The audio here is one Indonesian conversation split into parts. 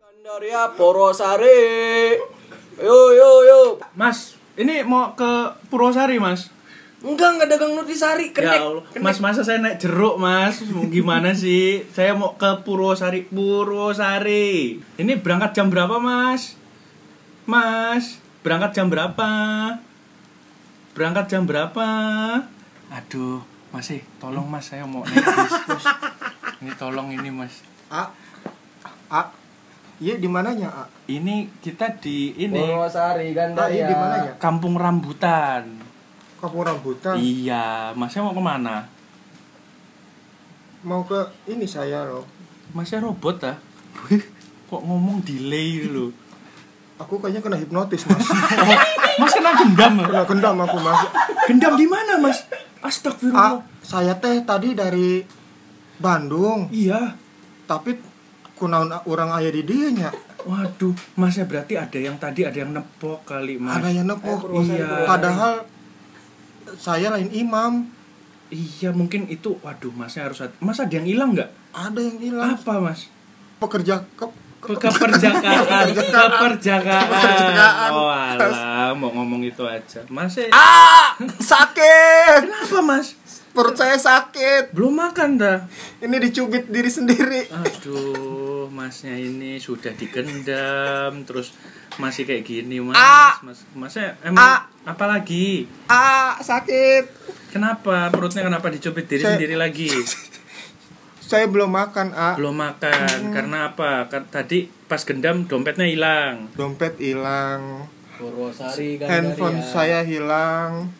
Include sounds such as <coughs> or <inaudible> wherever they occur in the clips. saya Porosari. Yo yo yo. Mas, ini mau ke Purwosari, Mas. Enggak enggak dagang Nutrisari, kenek. Ya Allah. kenek. Mas, masa saya naik jeruk, Mas? Mau gimana sih? Saya mau ke Purwosari, Purwosari. Ini berangkat jam berapa, Mas? Mas, berangkat jam berapa? Berangkat jam berapa? Aduh, masih tolong Mas, saya mau naik bis. <laughs> Mas. Ini tolong ini, Mas. A A Iya di mananya A? Ini kita di ini Oh. Porosari A iya di mananya? Kampung Rambutan. Kampung Rambutan. Iya, Masnya mau kemana? Mau ke ini saya loh. Masnya robot ah? Kok ngomong delay lu? Aku kayaknya kena hipnotis mas. <laughs> Mas kena gendam ah? kena gendam aku mas. Gendam di mana mas? A Ah. Astagfirullah. saya teh tadi dari Bandung, Iya. tapi kunaun orang ayah di dinya. Waduh, masnya berarti ada yang tadi ada yang nepok kali mas. Ada yang nepok. Purwosari, Purwosari. Padahal saya lain imam. Iya mungkin itu. Waduh, masnya harus. hati- Mas ada yang hilang nggak? Ada yang bilang Apa mas? pekerja ke Ke- Keperjakaan, keperjakaan. Oh alah, mau ngomong itu aja. Mas, eh, Ah sakit. kenapa mas? Perut saya sakit. Belum makan dah. Ini dicubit diri sendiri. Aduh, masnya ini sudah digendam, terus masih kayak gini, mas. Ah. mas masnya emang Ah. apa lagi? Ah sakit. Kenapa perutnya kenapa dicubit diri Saya- sendiri lagi? Saya belum makan, A. Belum makan. Karena apa? Kan tadi pas gendam dompetnya hilang. Dompet hilang, Porosari ya. handphone saya hilang.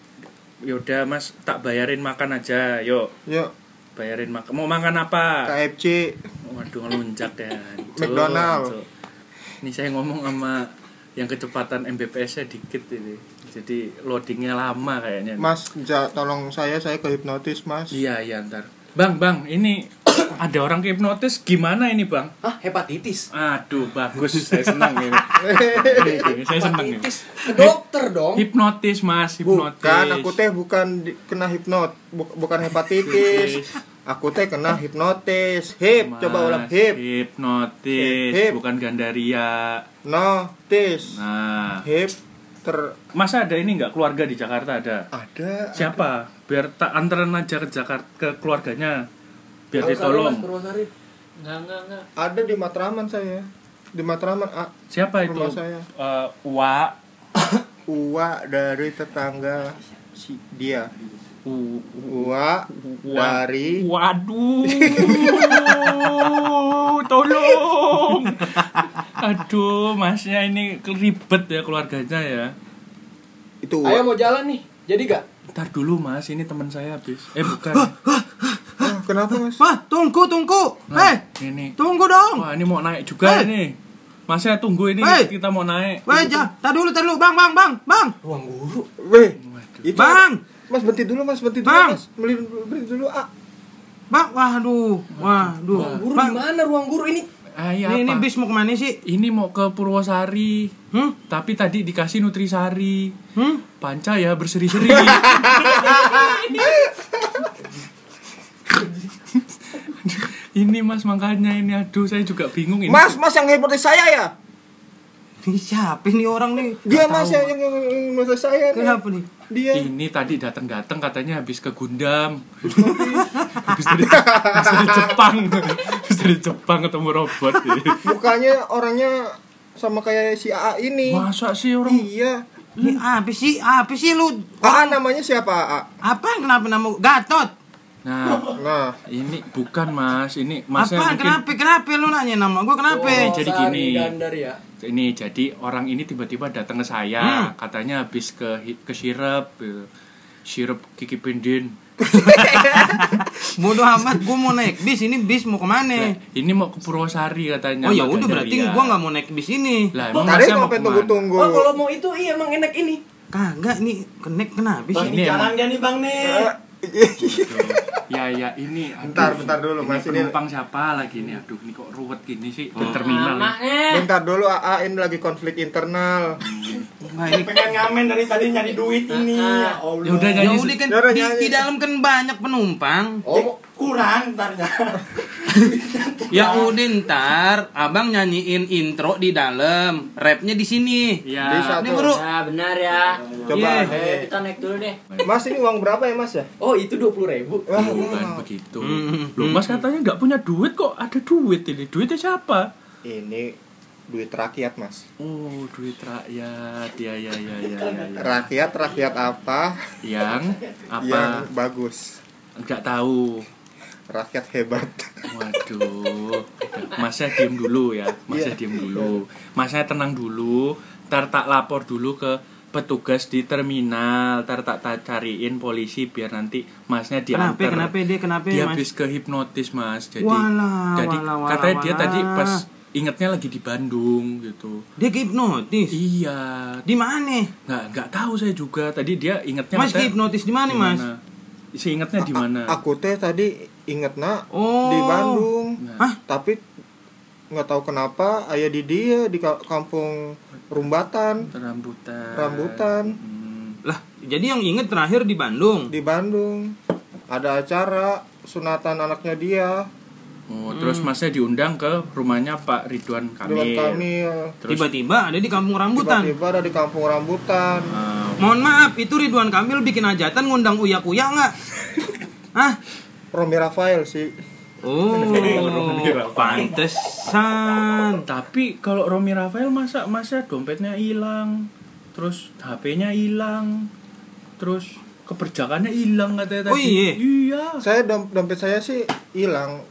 Yaudah, Ya Mas, tak bayarin makan aja. Yuk, Yuk, bayarin makan. Mau makan apa? KFC. Waduh, ngelunjak ya. Cuk, McDonald. cuk. Ini saya ngomong sama yang kecepatan Mbps-nya dikit ini. Jadi loadingnya lama kayaknya. Mas, ja, tolong saya, saya kehipnotis, Mas. Iya, iya ntar. Bang, bang, ini <coughs> ada orang hipnotis gimana ini bang? Hah, hepatitis. Aduh, bagus, saya senang ini. Ini, <coughs> ini, saya senang ini. Hepatitis. Ke dokter dong. Iya, Hipnotis mas, hipnotis. <laughs> Bukan, aku teh bukan di- kena hipnot, bu- bukan hepatitis. aku teh kena hipnotis. Hip, Mas, coba ulang hip. Hipnotis, Hip. bukan gandaria. Notis. Nah, Hip ter mas ada ini nggak keluarga di Jakarta ada? ada Siapa? Biar tak anterin aja ke Jakarta ke keluarganya. Porosari, Biar Mas, ditolong. Porosari. Enggak, enggak, enggak. ada di Matraman saya. Di Matraman A. Siapa itu? Rumah saya. Eh, Wa, Uwa dari tetangga si dia. U- Uwa Wa- dari <laughs> Waduh, tolong. Aduh, masnya ini ribet ya keluarganya ya. itu Ayo Uwa. mau jalan nih. Jadi gak? Ntar dulu mas, ini teman saya habis. Eh bukan. Ah, Kenapa mas? Wah, tunggu, tunggu. Nah, Hei, ini. tunggu dong. Wah ini mau naik juga Hei. ini. Masnya tunggu ini Hei. kita mau naik. Wah, ja, tar dulu, tar dulu. Bang, bang, bang, bang. Ruang guru. Weh, itu Bang, Mas berhenti dulu, Mas berhenti dulu, Bang. Mas. Beli- Berhenti dulu, ah. bang. Waduh, waduh. Guru Bang, di mana ruang guru ini? Ah, iya, ini, ini apa? bis mau kemana sih? Ini mau ke Purwosari. Hmm? Tapi tadi dikasih nutrisari. Hmm? <laughs> Panca ya berseri-seri. ini mas makanya ini aduh saya juga bingung ini. Mas, Mas yang hipnotis saya ya? Ini siapa nih orang nih? Dia Nggak Mas tahu. yang yang yang- yang hipnotis saya. nih. Kenapa nih? Dia. Ini tadi datang-datang katanya habis ke Gundam. habis dari, habis dari Jepang. habis dari Jepang ketemu robot. ini. Bukannya orangnya sama kayak si AA ini. Masa sih orang Iya. Ini apa sih? Apa sih lu? AA namanya siapa AA? Apa kenapa nama Gatot? Nah, Nah, ini bukan Mas, ini Apa Masnya mungkin kenapa? Kenapa lu nanya nama gua? Kenapa? Oh. jadi Porosari gini. Gandaria. ini jadi orang ini tiba-tiba datang ke saya katanya habis ke ke sirup gitu. sirup kiki pendin Bodoh amat gua mau naik bis. Ini bis mau Nah, kemana? ini mau ke Purwosari katanya Oh ya Mbak udah berarti Gandaria. gua nggak mau naik bis ini. lah emang tadi masnya mau mau kemana? tunggu-tunggu. Oh, kalau mau itu iya emang enak ini. Kagak nih, kenek kenapa sih? ini emang- gak nih, Bang nih? Eh, Eh. Aduh. ya ya ini aduh, Bentar, bentar dulu, Mas, ini ini- penumpang siapa lagi nih aduh ini kok ruwet gini sih di terminal ya. Bentar dulu AA ini lagi konflik internal. Nah, ini pengen ngamen dari tadi nyari duit ini ya oh, Allah ya udah Ya nyanyi udah kan Ya udah, di, nyanyi. di dalam kan banyak penumpang. ya. oh kurang ntarnya Ya udah ntar abang nyanyiin intro di dalam, rapnya di sini. Iya. Bisa Ini tuh. bro, Nah, benar ya. Coba. Iya. Ayo, eh. kita naik dulu deh. Mas ini uang berapa ya mas ya? Oh, itu 20 ribu. Wah, bukan wah. begitu Hmm. Loh, Mas katanya nggak punya duit kok ada duit ini. Duitnya siapa? Ini duit rakyat mas. Oh, duit rakyat. Ya ya ya ya. ya, ya. Rakyat rakyat apa? Yang apa? Yang bagus. Nggak tahu. Rakyat hebat. Waduh. Masnya diem dulu ya. Masnya Iya. diem dulu. Masnya tenang dulu. Ntar tak lapor dulu ke petugas di terminal. Ntar tak, tak cariin polisi biar nanti masnya diantar. kenapa kenapa dia kenapa ya, dia mas? habis ke hipnotis mas jadi Walah, jadi walah, walah, katanya dia walah. tadi pas ingetnya lagi di Bandung gitu Dia hipnotis. iya Di mana? nggak nggak tahu saya juga tadi dia ingetnya Mas katanya hipnotis di mana di mas? mana. si ingetnya di mana A- aku teh tadi inget nak Oh. di Bandung. Hah? Tapi nggak tahu kenapa ayah di dia di ka- kampung Rumbatan rambutan Rambutan. Hmm. Lah, jadi yang inget terakhir di Bandung. di Bandung ada acara sunatan anaknya dia oh terus masnya diundang ke rumahnya Pak Ridwan dengan Kamil, kami terus Tiba-tiba ada di kampung Rambutan. tiba-tiba ada di kampung Rambutan eh, Mohon maaf, itu Ridwan Kamil bikin hajatan ngundang uyak uya nggak? <laughs> Hah? Romi Rafael sih Oh, pantesan. tapi kalau Romi Rafael masa masa dompetnya hilang terus HP-nya hilang terus keberjakannya hilang katanya tadi Oh, iya? iya saya dom- dompet saya sih hilang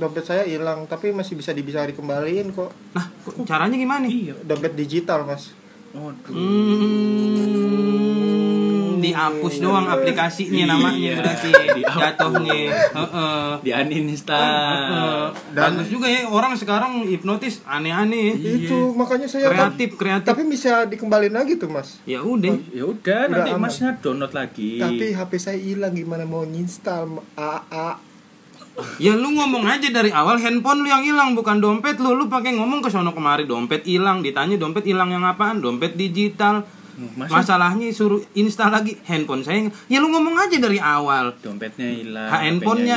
dompet saya hilang tapi masih bisa bisa dikembaliin kok Nah, kok caranya gimana? iya dompet digital mas Waduh. Hmm, dihapus doang aplikasinya namanya Iya, berarti <laughs> dihapus. jatuhnya. Heeh. di Eh, Heeh. uninstall Bagus juga ya orang sekarang hipnotis aneh-aneh. itu makanya saya Iya. Kreatif, kreatif. tapi bisa dikembaliin lagi tuh mas Ya udah. ya udah nanti aman. masnya download Iya. lagi tapi HP saya hilang gimana mau nyinstal AA Ya lu ngomong aja dari awal handphone lu yang hilang bukan dompet lu. Lu pakai ngomong ke sono kemari dompet hilang, ditanya dompet hilang yang apaan? Dompet digital. Masa Masalahnya suruh install lagi handphone saya. yang- Ya lu ngomong aja dari awal. dompetnya hilang Handphonenya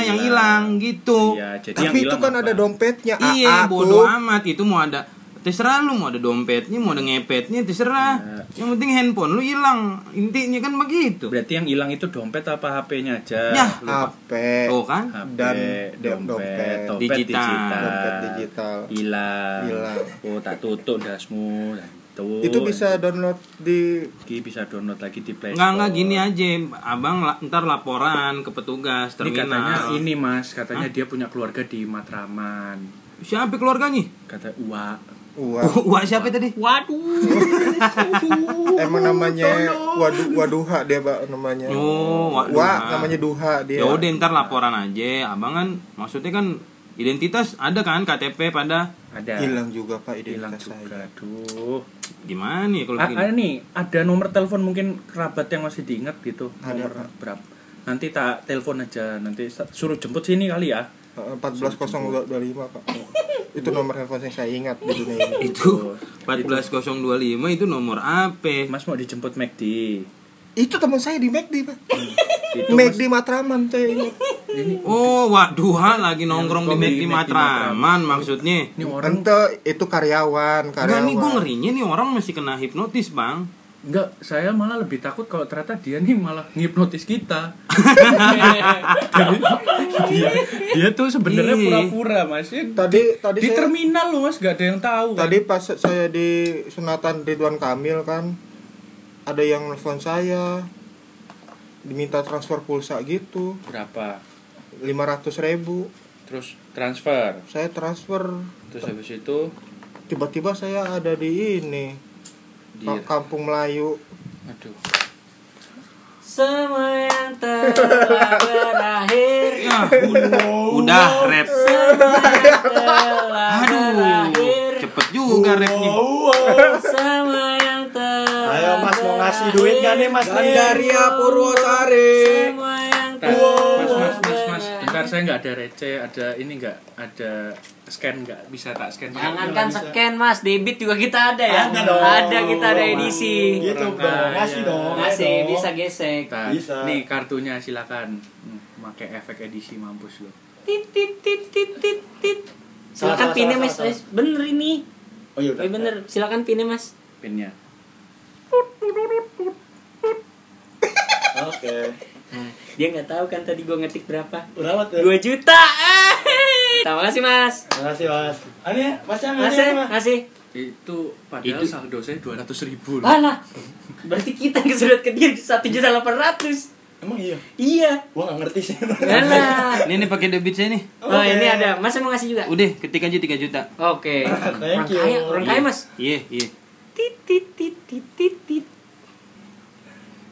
HP-nya yang hilang gitu. Nah, iya jadi yang tapi itu hilang kan apa? ada dompetnya Iya, AA bodoh tuh amat itu mau ada terserah lu mau ada dompetnya, mau ada ngepetnya terserah. Iya. Yang penting handphone lu hilang. Intinya kan begitu. berarti yang hilang itu dompet apa HP-nya aja Yah. HP Iya. Tuh kan? HP, Dan dompet, dompet. dompet Digital. dompet digital hilang Hilang. oh tak tutup dasmu dan tuh itu bisa download di Ki bisa download lagi di Play Enggak Store. enggak gini aja, Abang la- ntar laporan ke petugas ini terminal. katanya ini mas katanya dia punya keluarga di Matraman Siapa keluarganya? kata Ua Iya. <laughs> uang Wah, siapa tadi? emang namanya waduh waduha dia pak namanya Oh, Wak wa Duha. namanya duha dia Ya udah ntar laporan aja. Abang kan maksudnya kan identitas ada kan KTP pada ada hilang juga pak hilang identitas juga saya aduh gimana ya kalau A- begini? ada nih ada nomor telepon mungkin kerabat yang masih diingat gitu Ada, nomor Pak. berapa nanti tak telepon aja nanti sa- suruh jemput sini kali ya Eh, empat belas pak <laughs> itu nomor handphone yang saya ingat di dunia ini Itu 14025 itu nomor apa? mas mau dijemput McD itu teman saya di McD pak Hmm. itu mas McD Matraman saya ingat ini Oh, wah, duha lagi nongkrong di nongkrong di Mac di Mac di Matraman. Matraman maksudnya. ini orang ente itu karyawan Enggak karyawan nih gue ngerinya nih orang masih kena hipnotis, Bang. Enggak, saya malah lebih takut kalau ternyata dia nih malah ngipnotis kita. Jadi, dia, dia tuh sebenarnya Iya. pura-pura, Mas. Di tadi tadi saya, terminal loh, Mas, gak ada yang tahu. kan? tadi pas saya di sunatan Ridwan Kamil kan ada yang nelfon saya diminta transfer pulsa gitu berapa? 500.000 ribu Terus transfer. saya transfer Terus habis itu tiba-tiba saya ada di ini di Ka- kampung Melayu aduh. Semua yang telah berakhir. Ya, udah rap. Semua yang telah Aduh, berakhir. cepet juga rapnya. Oh, oh. Semua yang telah Ayo mas mau ngasih duit gak nih mas <laughs> nih? Gandaria Purwosari Semua yang Bentar, Nah, Mas, mas, mas, telah mas. Bentar, saya nggak ada receh, ada ini nggak ada scan nggak bisa tak scan. Jangan kan scan mas, debit juga kita ada ya. Ada dong. kita ada edisi. Gitu dong, ngasih dong. ayo Iya. Masih dong. Nah. bisa gesek. Bentar. Bisa. Nih kartunya silakan. Hmm, Pakai efek edisi mampus lo. Tit tit tit tit tit tit. Salah, Silakan pinnya salah, mas. salah, Mas, Bener ini. Oh iya Eh bener. Silakan pinnya mas. pinnya Oke. Nah, Dia nggak tahu kan tadi gua ngetik berapa. Berapa tuh? 2 juta. Ah, Terima kasih mas. ya? Terima kasih mas. Ani, mas yang Mas ini, ya, Mas. kasih. itu padahal saldo saya dua ratus ribu loh. Alah. Berarti kita kesurat ke dia satu juta delapan ratus. Emang iya. Iya. Gua nggak ngerti sih. <laughs> Alah. Ini nih pakai debit saya nih. Oh Oke. ini ada. Mas mau ngasih juga. Udah, ketik aja 3 juta. Oke. Orang Thank you. kaya, orang kaya mas. Iya, iya. Tit tit tit tit tit tit.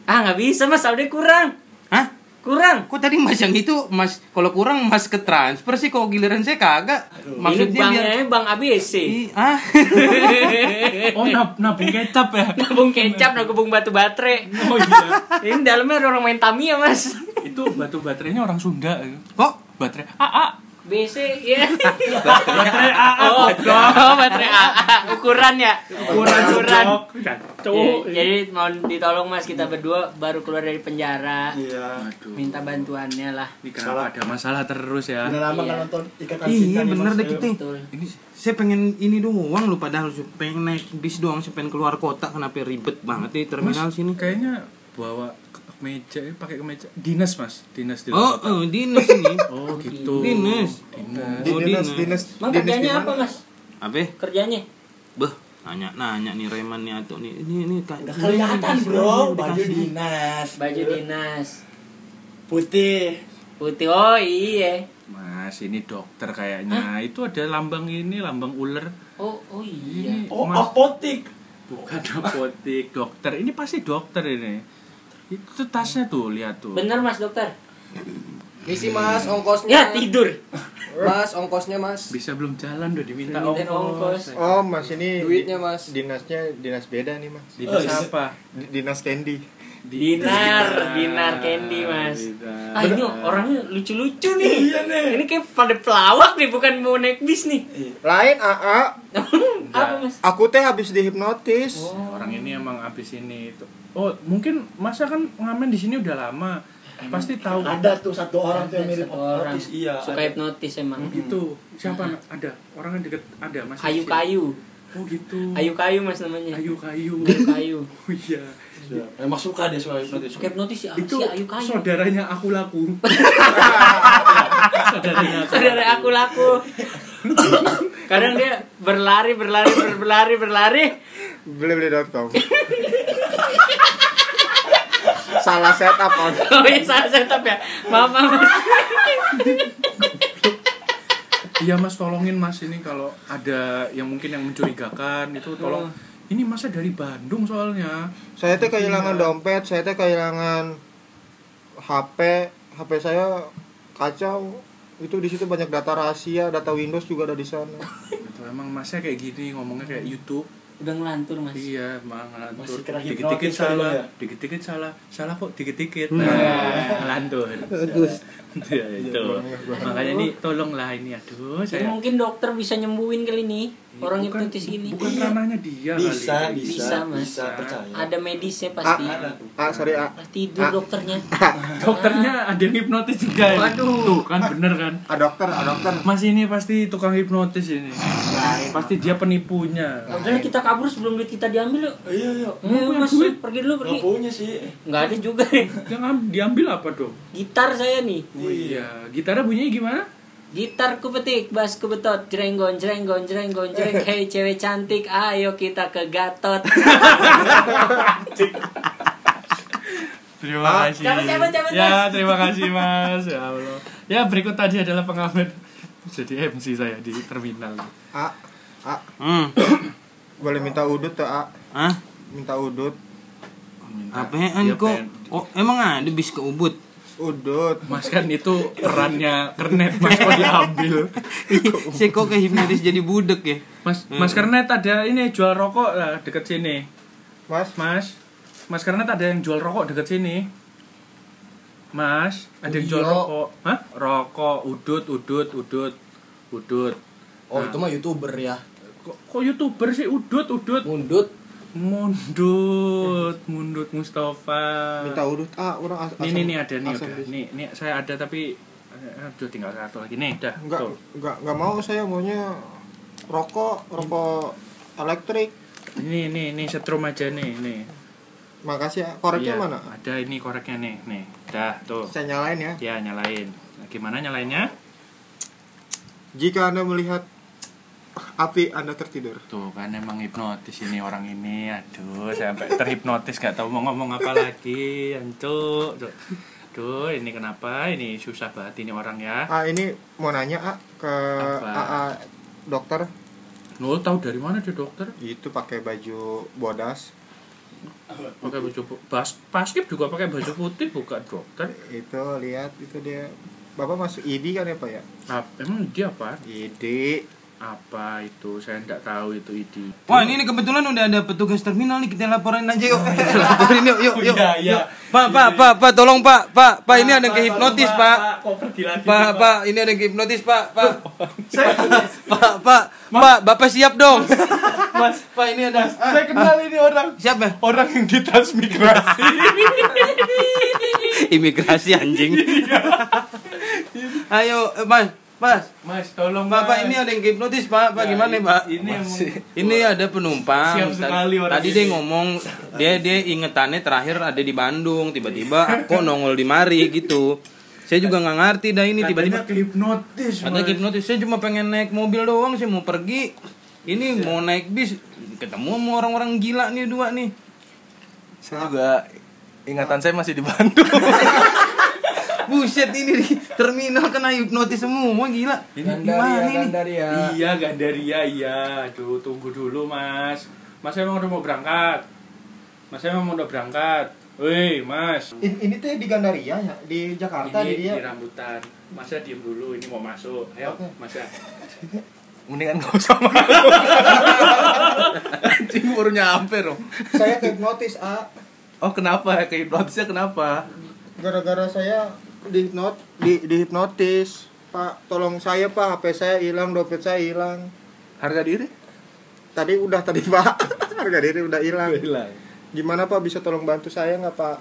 Ah nggak bisa mas, saldo kurang, Hah? kurang. Kok tadi Mas yang itu Mas kalau kurang Mas ke transfer sih kok giliran saya kagak. Ini Maksudnya biar banknya bank ABC. Ih, ah. <laughs> oh nab nabung kecap ya Nabung kecap, nabung batu baterai. oh iya Ini dalamnya ada orang main Tamiya mas. itu batu baterainya orang Sunda ya. Kok baterai AA BC ya. baterai AA Oh, oh, baterai AA ukuran ya. Ukuran ukuran. cowok Ya, jadi mau ditolong mas kita berdua baru keluar dari penjara. Iya. aduh Minta bantuannya lah. ini kenapa ada masalah terus ya Udah lama kan Iya. nonton ikatan cinta Iya nih, bener Mas. deh kita Betul. Ini saya pengen ini doang lu padahal pengen naik bis doang saya pengen keluar kota kenapa ya? ribet banget di terminal sini kayaknya bawa ke- kemeja ya, pakai kemeja dinas mas dinas di Oh, luar kota. oh dinas ini. <laughs> oh gitu Dinas. dinas Di Oh, dinas, dinas. dinas, Emang dinas di kerjanya mana? apa mas? Apa? Kerjanya? Beh, nanya nanya nih Reman nih atau nih ini ini kak. Nggak kelihatan bro, baju dinas, Baju dinas. putih. Iya. Putih. Oh iya. mas ini dokter kayaknya itu ada lambang ini lambang ular Oh oh ini iya. Oh, mas apotik. bukan apotik dokter ini pasti dokter ini itu tasnya tuh lihat tuh Bener mas dokter. Misi mas ongkosnya. Ya tidur. Mas ongkosnya mas. bisa belum jalan udah diminta Dimintain ongkos. ongkos Oh mas ini Duitnya, Mas. Dinasnya dinas beda nih mas. dinas Oh, apa Di- Dinas Candy. iya. Dinar, dinar candy mas. Dinar. Ah ini orangnya lucu-lucu nih. Iya, nih. Ini kayak pada pelawak nih, bukan mau naik bis nih. Lain AA. Apa mas? Aku teh habis dihipnotis. Oh. Oh, orang ini emang abis ini itu oh mungkin masa kan ngamen di sini udah lama pasti tahu Ada tuh satu orang tuh yang mirip Satu orang apotis. Iya. suka ada. hipnotis emang. gitu siapa ada orang yang deket ada mas Ayu kayu, oh gitu ayu kayu mas namanya. ayu <laughs> kayu Ayu kayu. oh iya Iya. Emang suka deh suara hipnotis. Suka hipnotis ya, itu si ayu kayu. saudaranya aku <laughs> laku saudaranya aku Saudara aku laku. Kadang dia berlari, berlari, ber- berlari, berlari. Blibli.com. Salah setup on. Oh iya, salah setup ya. Maaf, maaf. Mas. iya mas tolongin mas ini kalau ada yang mungkin yang mencurigakan itu tolong ini masa dari Bandung soalnya Saya teh kehilangan dompet, saya teh kehilangan HP, HP saya kacau. Itu di situ banyak data rahasia, data Windows juga ada di sana. itu Gitu, emang masnya kayak gini ngomongnya kayak YouTube Udah ngelantur mas. Iya, emang ngelantur. Masih kena Dikit-dikit hipnotis salah, kali ya? dikit-dikit salah, salah kok dikit-dikit. Nah, ngelantur. Ya, itu. Makanya ini tolonglah ini aduh Jadi saya. Iya, mungkin dokter bisa nyembuhin kali ini orang Bukan- hipnotis ini. Bukan ranahnya dia Bisa, kali. bisa, Bisa, bisa, Mas. percaya. Ada medisnya pasti. Ah, Ada tuh. A, sorry A. Ah, Tidur dokternya. Dokternya ada yang hipnotis juga. ini. Tuh kan bener kan. A dokter, A dokter. Mas ini pasti tukang hipnotis ini. Pasti dia penipunya. Udah kita kabur sebelum duit kita diambil yuk. Iya, iya. Ayo punya mas, duit. pergi dulu pergi. Nggak punya sih. Nggak ada juga. Yang am- diambil apa dong? Gitar saya nih. Oh iya, gitarnya bunyinya gimana? Gitar ku petik, bass ku betot, jrenggon, jrenggon, jrenggon, <laughs> jreng. Hei cewek cantik, ayo kita ke <laughs> Gatot. Terima kasih. cabut, cabut, cabut, ya, terima kasih Mas. Ya Allah. Ya, berikut tadi adalah pengalaman <laughs> jadi MC saya di terminal. A, A. Hmm. Boleh minta udut tuh A. Hah? Minta udut. Apaan Ah, Dia kok? pengen- Oh, emang ada bis ke Ubud? Udut. Mas kan itu kerannya kernet Mas kok diambil. <laughs> saya kok kayak hipnotis jadi budek ya? Mas Mas kernet ada ini jual rokok lah deket sini. Mas, Mas. Mas kernet ada yang jual rokok deket sini. Mas, ada yang jual Iya. rokok. Hah? Rokok, udut, udut, udut, udut. Oh itu mah youtuber ya. Kok, kok youtuber sih udut, udut? Mundut. Mundut, mundut Mustafa. minta udut A. Orang as- Nih asam- nih nih ada nih asam udah. bis. Nih nih saya ada tapi eh, Aduh, tinggal satu lagi nih, dah. Enggak, Tuh. enggak, enggak mau saya maunya rokok, rokok elektrik. Ini, ini, ini setrum aja nih, nih. Makasih ya. Iya, Koreknya mana? Ada ini koreknya nih, nih. Dah, tuh. Saya nyalain ya. Ya, nyalain. Nah, gimana nyalainnya? Jika Anda melihat api Anda tertidur. Tuh kan emang hipnotis ini orang ini. Aduh, saya sampai terhipnotis gak tahu mau ngomong apa lagi. Ancuk. Tuh. Aduh, ini kenapa? Ini susah banget ini orang ya. Ah ini mau nanya ah, ke Apa? AA dokter Nol tahu dari mana dia dokter? itu pakai baju bodas Pakai baju pu- bas basket juga pakai baju putih bukan dokter. itu lihat itu dia bapak masuk ID kan ya pak ya Ap- emang dia apa? ID Apa itu? Saya enggak tahu itu ID. Wah ini nih kebetulan udah ada petugas terminal nih kita laporin aja yuk. Kita <laughs> laporin yuk yuk yuk. Oh, iya. Pak pak pak pak tolong pak pak pak Oh, ini ada yang kehipnotis pak. Koper dilagi. Pak pak ini ada yang kehipnotis pak pak. <laughs> Pak pak pak bapak siap dong. Mas pak ini ada. Saya kenal ini orang. Siap <laughs> ya? Orang yang <laughs> ditransmigrasi. Imigrasi anjing. Iya. <laughs> Ayo eh, mas mas. Mas, tolong Pak, Pak, ini ada yang hipnotis, Pak. Pak, gimana, Pak? ini Masih. emang- ini ada penumpang. Siap sekali orang Tadi ini. dia ngomong, dia dia ingetannya terakhir ada di Bandung, tiba-tiba "Ah, kok nongol di mari gitu. Saya juga nggak ngerti dah ini tiba-tiba kehipnotis. ada hipnotis. Saya cuma pengen naik mobil doang, saya mau pergi. Ini mau naik bis, ketemu sama orang-orang gila nih dua nih. Saya juga ingatan saya masih di Bandung. Buset ini di terminal kena hipnotis semua gila. Ini ya, gimana ini? Gandaria. Iya, Gandaria, iya. Aduh, tunggu dulu, Mas. Mas emang udah mau berangkat. Mas emang udah berangkat. Woi, Mas. ini, ini teh di Gandaria ya di Jakarta Ini di dia di rambutan. Masnya diem dulu, ini mau masuk. Ayo, ya. Oke. Masnya. Mendingan gak usah malu. Anjing baru nyampe loh. saya hipnotis ah Oh kenapa? Kehipnotisnya kenapa? gara-gara saya dihipnot di dihipnotis pak tolong saya pak HP saya hilang dompet saya hilang Harga diri? tadi udah tadi <laughs> pak harga diri udah hilang Hilang. gimana pak bisa tolong bantu saya nggak pak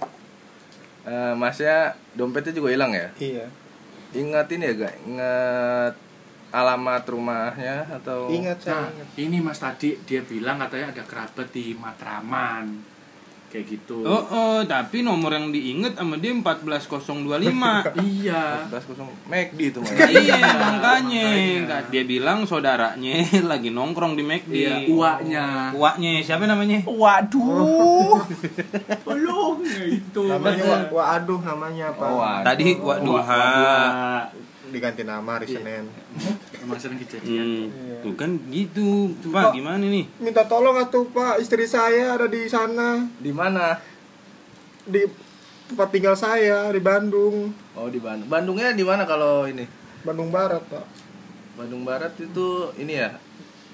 Eh, masnya dompetnya juga hilang ya? iya Ingatin ya, gak? Ingat alamat rumahnya atau ingat saya Nah, ingat. ini Mas tadi dia bilang katanya ada kerabat di Matraman. Kayak gitu. Oh, oh, tapi nomor yang diinget sama dia <laughs> 14025. Iya. Belas kosong McD itu mah. ya. iya makanya makanya. dia bilang saudaranya <laughs> lagi nongkrong di McD Iya, uaknya. uaknya siapa namanya Waduh. Tolong ya itu. namanya wa, aduh namanya pak Oh, waduh. tadi uak duha diganti nama hari Iya. Senin Emang sering kejadian. hmm, tuh kan gitu coba Pak. gimana nih minta tolong atuh pak istri saya ada di sana Di mana? di tempat tinggal saya di Bandung Oh di Bandung. Bandungnya di mana kalau ini? Bandung Barat pak Bandung Barat itu ini ya.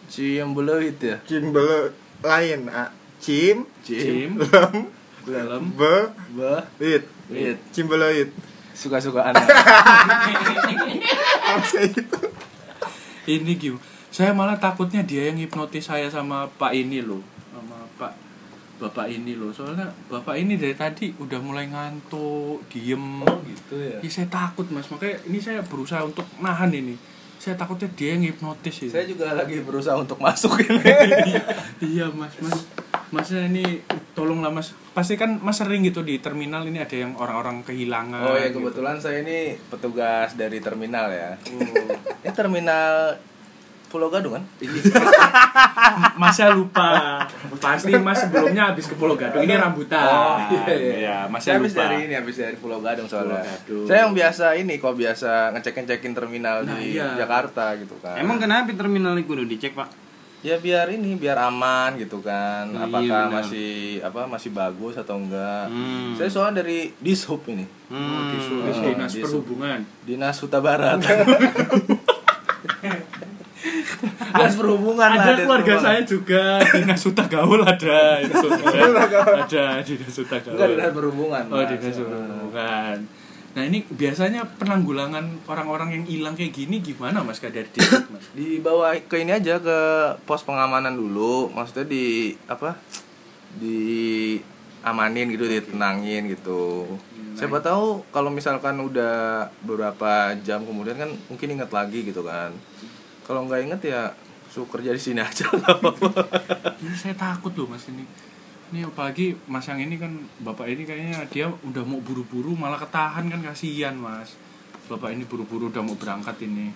Ciumbeleuit ya. Cimbele lain ah Cim Cim. Jim, lem Dalam. be Be. it It. <laughs> Cimbeleuit Suka-sukaan. lah. apa itu ini gimana? Saya malah takutnya dia yang hipnotis saya sama Pak ini loh, sama Pak Bapak ini loh. Soalnya Bapak ini dari tadi udah mulai ngantuk, diem. gitu ya. Ya, saya takut mas, makanya ini saya berusaha untuk nahan ini. Saya takutnya dia yang hipnotis ini. Saya juga lagi berusaha untuk masuk ini. <laughs> iya mas mas masnya ini tolonglah mas pasti kan mas sering gitu di terminal ini ada yang orang-orang kehilangan Oh ya gitu. kebetulan saya ini petugas dari terminal ya. Oh. Ini terminal Pulau Gadung kan? masnya <laughs> lupa pasti mas sebelumnya habis ke Pulau Gadung ini rambutan Oh, masnya iya, Saya habis lupa dari ini, habis dari Pulau Gadung soalnya. Pulau Gadung. Saya yang biasa ini kok biasa ngecek-ngecekin terminal Nah, di iya. Jakarta gitu kan. emang kenapa terminalnya kudu dicek pak ya biar ini biar aman gitu kan. Iya, Apakah benar. masih apa masih bagus atau enggak? Hmm. Saya soalnya dari Dishub ini. Oh, hmm. di Sul- Hmm. dinas Di Sul- perhubungan Dinas Huta <laughs> Barat. Dinas perhubungan lah, ada Dinas keluarga perhubungan. saya juga dinas Huta Gaul ada dinas Huta Gaul. ada dinas Huta Gaul Enggak dinas perhubungan. Oh, Mas. dinas perhubungan. Nah, ini biasanya penanggulangan orang-orang yang hilang kayak gini gimana, Mas? Kayak dari dikit, Mas. dibawa ke ini aja ke pos pengamanan dulu maksudnya di apa di amanin gitu ditenangin gitu Siapa tahu kalau misalkan udah beberapa jam kemudian kan mungkin inget lagi gitu kan. Kalau nggak inget ya suruh kerja di sini aja <laughs> nggak apa-apa. Ini saya takut loh mas ini. Ini apalagi mas yang ini kan bapak ini kayaknya dia udah mau buru-buru malah ketahan kan kasihan mas. Bapak ini buru-buru udah mau berangkat ini.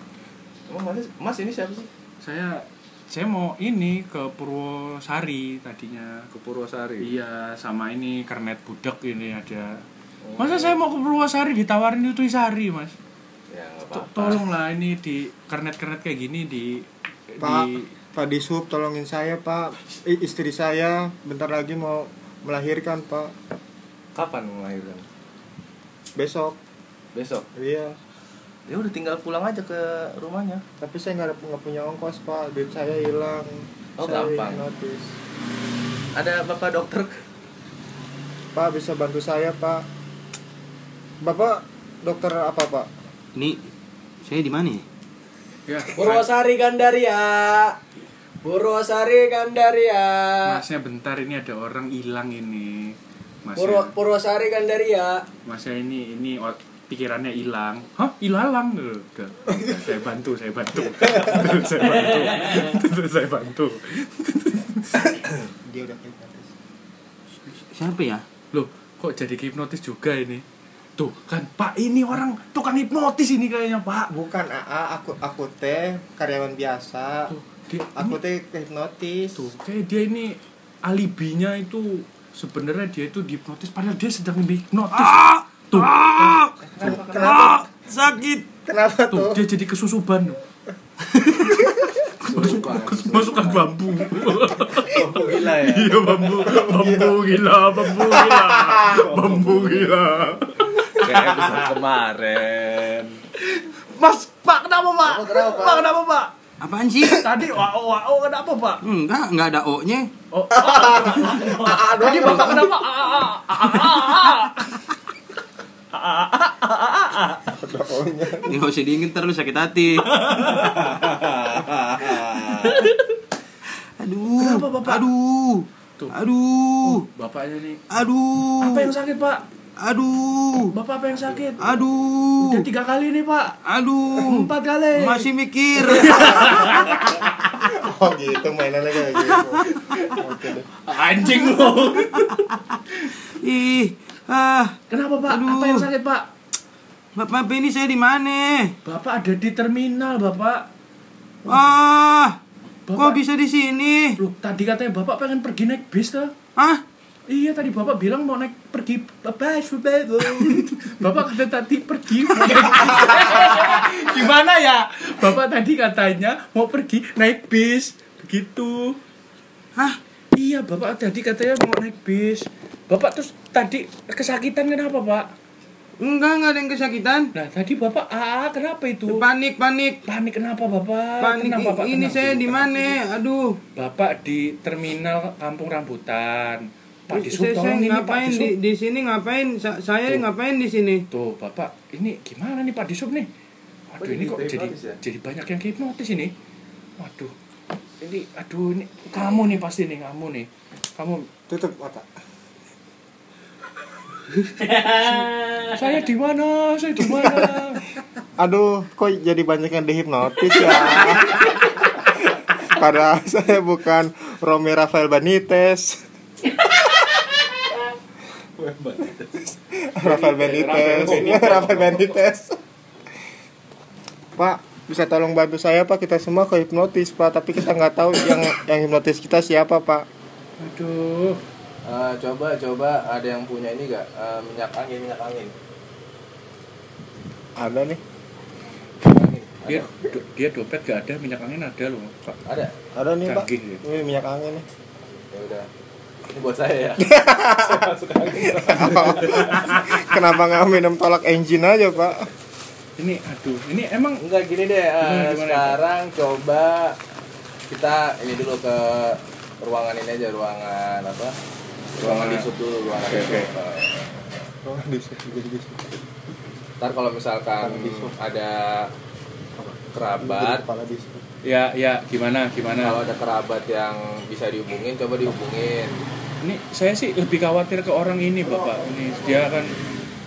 Emang Mas, mas ini siapa sih? Saya saya mau ini ke Purwosari tadinya. Ke Purwosari. Iya sama ini kernet budek ini ada. Masa saya mau ke Purwosari ditawarin itu Sari mas? Ya nggak To- apa-apa. Tolonglah ini di kernet-kernet kayak gini di Pak, di Pak Dishub tolongin saya Pak. I- Istri saya bentar lagi mau melahirkan Pak. Kapan melahirkan? Besok. Besok. Iya. Ya udah tinggal pulang aja ke rumahnya. Tapi saya nggak ada- nggak punya ongkos Pak. Duit saya hilang. Oh, saya gampang. notice. Ada bapak dokter. Pak bisa bantu saya Pak. Bapak dokter apa Pak? Ini saya di mana ya? Purwosari Gandaria. Purwosari Gandaria. masnya bentar ini ada orang hilang ini. Purwo- Masnya Purwosari Gandaria. masnya ini ini o- pikirannya hilang. Hah? Ilalang Loh, enggak. Enggak, Saya bantu, saya bantu. saya bantu. saya bantu. Dia udah hipnotis. Siapa ya? Loh, kok jadi hipnotis juga ini? Tuh kan Pak ini orang tukang hipnotis ini kayaknya Pak. Bukan AA, aku aku teh karyawan biasa. Tuh, dia, Aku teh hipnotis. tuh kayak dia ini alibinya itu sebenarnya dia itu dihipnotis padahal dia sedang dihipnotis tuh kan. Kenapa? Sakit. Kenapa tuh tuh? dia jadi kesusuban <laughs> tuh. Masuk- kes- masukan bambu Aku gila ya. iya bambu bambu gila bambu <laughs> gila bambu gila Kayak episode kemarin. mas pak kenapa pak pak kenapa pak Apaan <laughs> sih? Hmm, tadi wao wao kenapa pak Enggak, enggak ada O-nya. tadi bapak kenapa Ah, ah, ah, ah, ah, ah. Ini nggak usah diinget terus sakit <laughs> hati. aduh. Aduh. Aduh. Oh, bapaknya nih Aduh. apa yang sakit pak Aduh. bapak apa yang sakit Aduh. udah tiga kali nih pak Aduh. empat eh. kali Masih mikir. Oh gitu mainannya kayak gitu. Oke deh. <laughs> anjing lo <laughs> Ih. Ah. kenapa pak apa Aduh. yang sakit pak Bapak ini saya di mana? bapak ada di terminal bapak Ah. Kok Bapak- bisa di sini? Loh, tadi katanya bapak pengen pergi naik bis tuh. Ah. Iya, tadi bapak bilang mau naik pergi apa <laughs> Bapak kata tadi pergi. mau naik bis. <laughs> Gimana ya? Bapak tadi katanya mau pergi naik bis. Begitu. Hah? Iya, bapak tadi katanya mau naik bis. Bapak terus tadi kesakitan kenapa, Pak? Enggak, enggak ada yang kesakitan. Nah, tadi bapak AA kenapa itu? Panik, panik. Panik Eh, kenapa, Bapak? Panik. Tenang, Bapak, ini tenang. saya di mana? Aduh. Bapak di terminal Kampung Rambutan. Pak Disub saya, saya tolong ini Pak ngapain Disub. di, di sini ngapain? Sa- saya Tuh. ngapain di sini? Tuh, Bapak, ini gimana nih Pak Disub nih? Aduh, Kok ini kok jadi jadi hipnotis ya? jadi banyak yang hipnotis ini. Waduh. Ini aduh ini kamu nih pasti nih kamu nih. Kamu Tutup mata. saya di mana? Saya di <laughs> mana? Aduh, kok jadi banyak yang dihipnotis ya? Padahal saya bukan Romy Rafael Benitez. Rafael Benitez. Rafael Benitez. Pak, bisa tolong bantu saya Pak? Kita semua ke hipnotis Pak, tapi kita nggak tahu yang yang hipnotis kita siapa Pak. aduh. Eh, coba coba ada yang punya ini gak Eh, minyak angin minyak angin. Ada nih. Minyak angin. Ada. Dia do- dia dompet gak ada, minyak angin ada loh, Pak. Ada. Ada nih Pak. Canggih ya. Ini minyak angin nih. Ya udah. Ini buat saya ya. Saya masuk angin. <laughs> Kenapa nggak minum tolak engine aja Pak? Ini aduh, ini emang Enggak gini deh. eh, Gimana, gimana? sekarang coba kita ini dulu ke ruangan ini aja ruangan apa? Ruangan di sub dulu ruangan di sub. Eh, Oh, Ntar kalau misalkan Ruangan di sub. ada kerabat Kepala disuruh. ya ya gimana gimana. kalau ada kerabat yang bisa dihubungin coba dihubungin Ini saya sih lebih khawatir ke orang ini, Bapak. Ini dia kan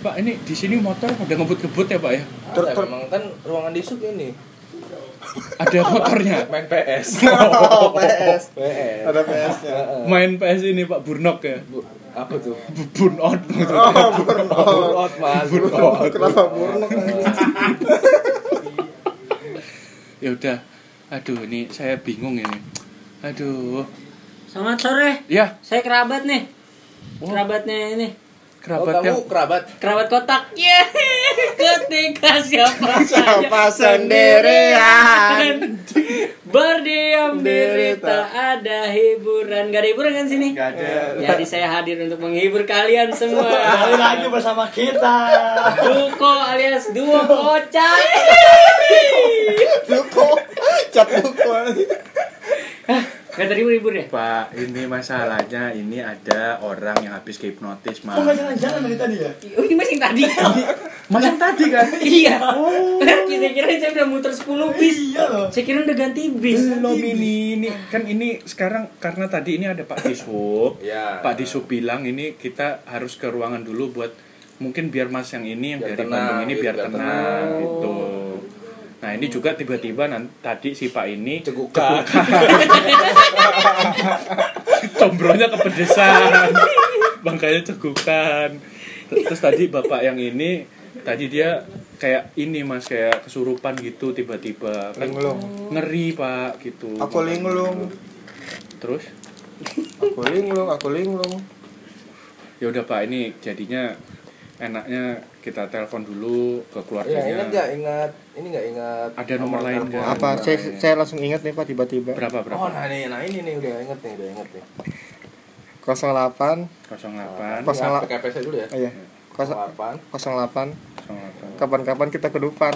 Pak, ini di sini motor pada ngebut-ngebut ya, Pak ya? Ter- ter- Memang kan ruangan di sub ini <laughs> Ada motornya. main PS. Oh, PS. PS. Ada PS-nya. Oh, Main PS ini Pak Burnok ya. Bu, apa tuh? Burn <laughs> out maksudnya. Oh, burnout. Burnout, Mas. Burnout. Kenapa burnout? Ya udah. Aduh, ini saya bingung ini. Aduh. Selamat sore. Ya, Saya kerabat nih. Wah. Kerabatnya ini. Oh, kerabat yang kamu kerabat. Kerabat kotak. Yeay. <laughs> Ketika <laughs> siapa saja Siapa sendirian? <laughs> Berdiam diri tak ada hiburan. Gak ada hiburan kan sini? Gak ada. Jadi saya hadir untuk menghibur kalian <laughs> semua. Kembali lagi bersama kita. Duko alias duo <laughs> kocak. Duko. <laughs> Cat duko lagi. Gak terhibur hibur ya? Pak, ini masalahnya Ya, ini ada orang yang habis kehipnotis, Mas. Oh, Kok gak iya. jalan-jalan dari tadi ya? Oh, ini masih yang tadi. Iya. Mas yang tadi kan? iya. Kita kira saya udah muter 10 bis. Oh. Iya loh. Iya. Saya kira udah ganti bis. Belum ini, ini kan ini sekarang karena tadi ini ada Pak Dishub. <laughs> Ya. Pak Dishub bilang ini kita harus ke ruangan dulu buat mungkin biar Mas yang ini yang Biar dari tenang, Bandung ini gitu, biar biar tenang, tenang. gitu. Nah ini juga tiba-tiba nan- tadi si Pak ini Cegukan. <laughs> combronya <laughs> kepedesan, makanya cegukan. Ter- Terus tadi bapak yang ini tadi dia kayak ini mas kayak kesurupan gitu tiba-tiba Kan Linglung. ngeri pak gitu. Aku linglung. Terus Aku linglung, aku linglung. ya udah pak ini jadinya enaknya kita telepon dulu Ya, ke ingat keluarganya. nggak ingat ini nggak ingat Iya, Ada nomor lain telepon. nggak? Apa? Saya, saya langsung ingat nih Pak tiba-tiba. berapa Oh, berapa? nah ini, nah ini nih udah inget nih, udah inget nih. 08. 08 Pas ngelak- PKPS aja dulu ya. Oh, iya. Kos- 08. 08. 08. Kapan-kapan kita ke depan.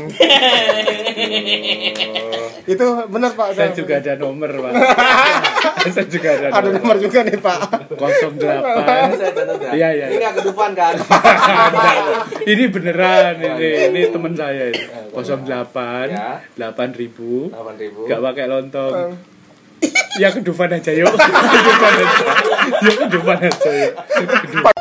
Itu benar Pak. Saya juga ada nomor pak. Saya juga ada Ada nomor nomor. juga nih Pak. 08 Saya catat ya. Iya, iya, Ini iya. nggak ke depan kan. ini beneran ini ini teman saya ini. 08 Ya. 8000 8000. nggak pakai lontong <laughs> ya kedufan aja yuk kedufan aja yuk kedufan aja yuk Kedufan.